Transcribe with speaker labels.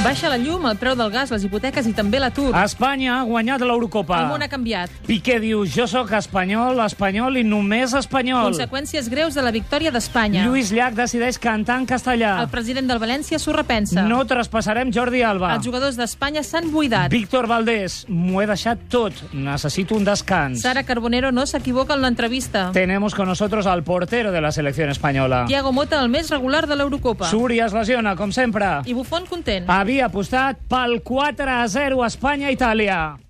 Speaker 1: Baixa la llum, el preu del gas, les hipoteques i també l'atur.
Speaker 2: Ah, Espanya ha guanyat l'Eurocopa.
Speaker 1: El món ha canviat.
Speaker 2: Piqué diu, jo sóc espanyol, espanyol i només espanyol.
Speaker 1: Conseqüències greus de la victòria d'Espanya.
Speaker 2: Lluís Llach decideix cantar en castellà.
Speaker 1: El president del València s'ho repensa.
Speaker 2: No traspassarem Jordi Alba.
Speaker 1: Els jugadors d'Espanya s'han buidat.
Speaker 2: Víctor Valdés, m'ho he deixat tot, necessito un descans.
Speaker 1: Sara Carbonero no s'equivoca en l'entrevista.
Speaker 2: Tenemos con nosotros al portero de la selección española.
Speaker 1: Tiago Mota, el més regular de l'Eurocopa.
Speaker 2: Súria es lesiona, com sempre.
Speaker 1: I Buffon content.
Speaker 2: Havia apostat pel 4 a 0 Espanya-Itàlia.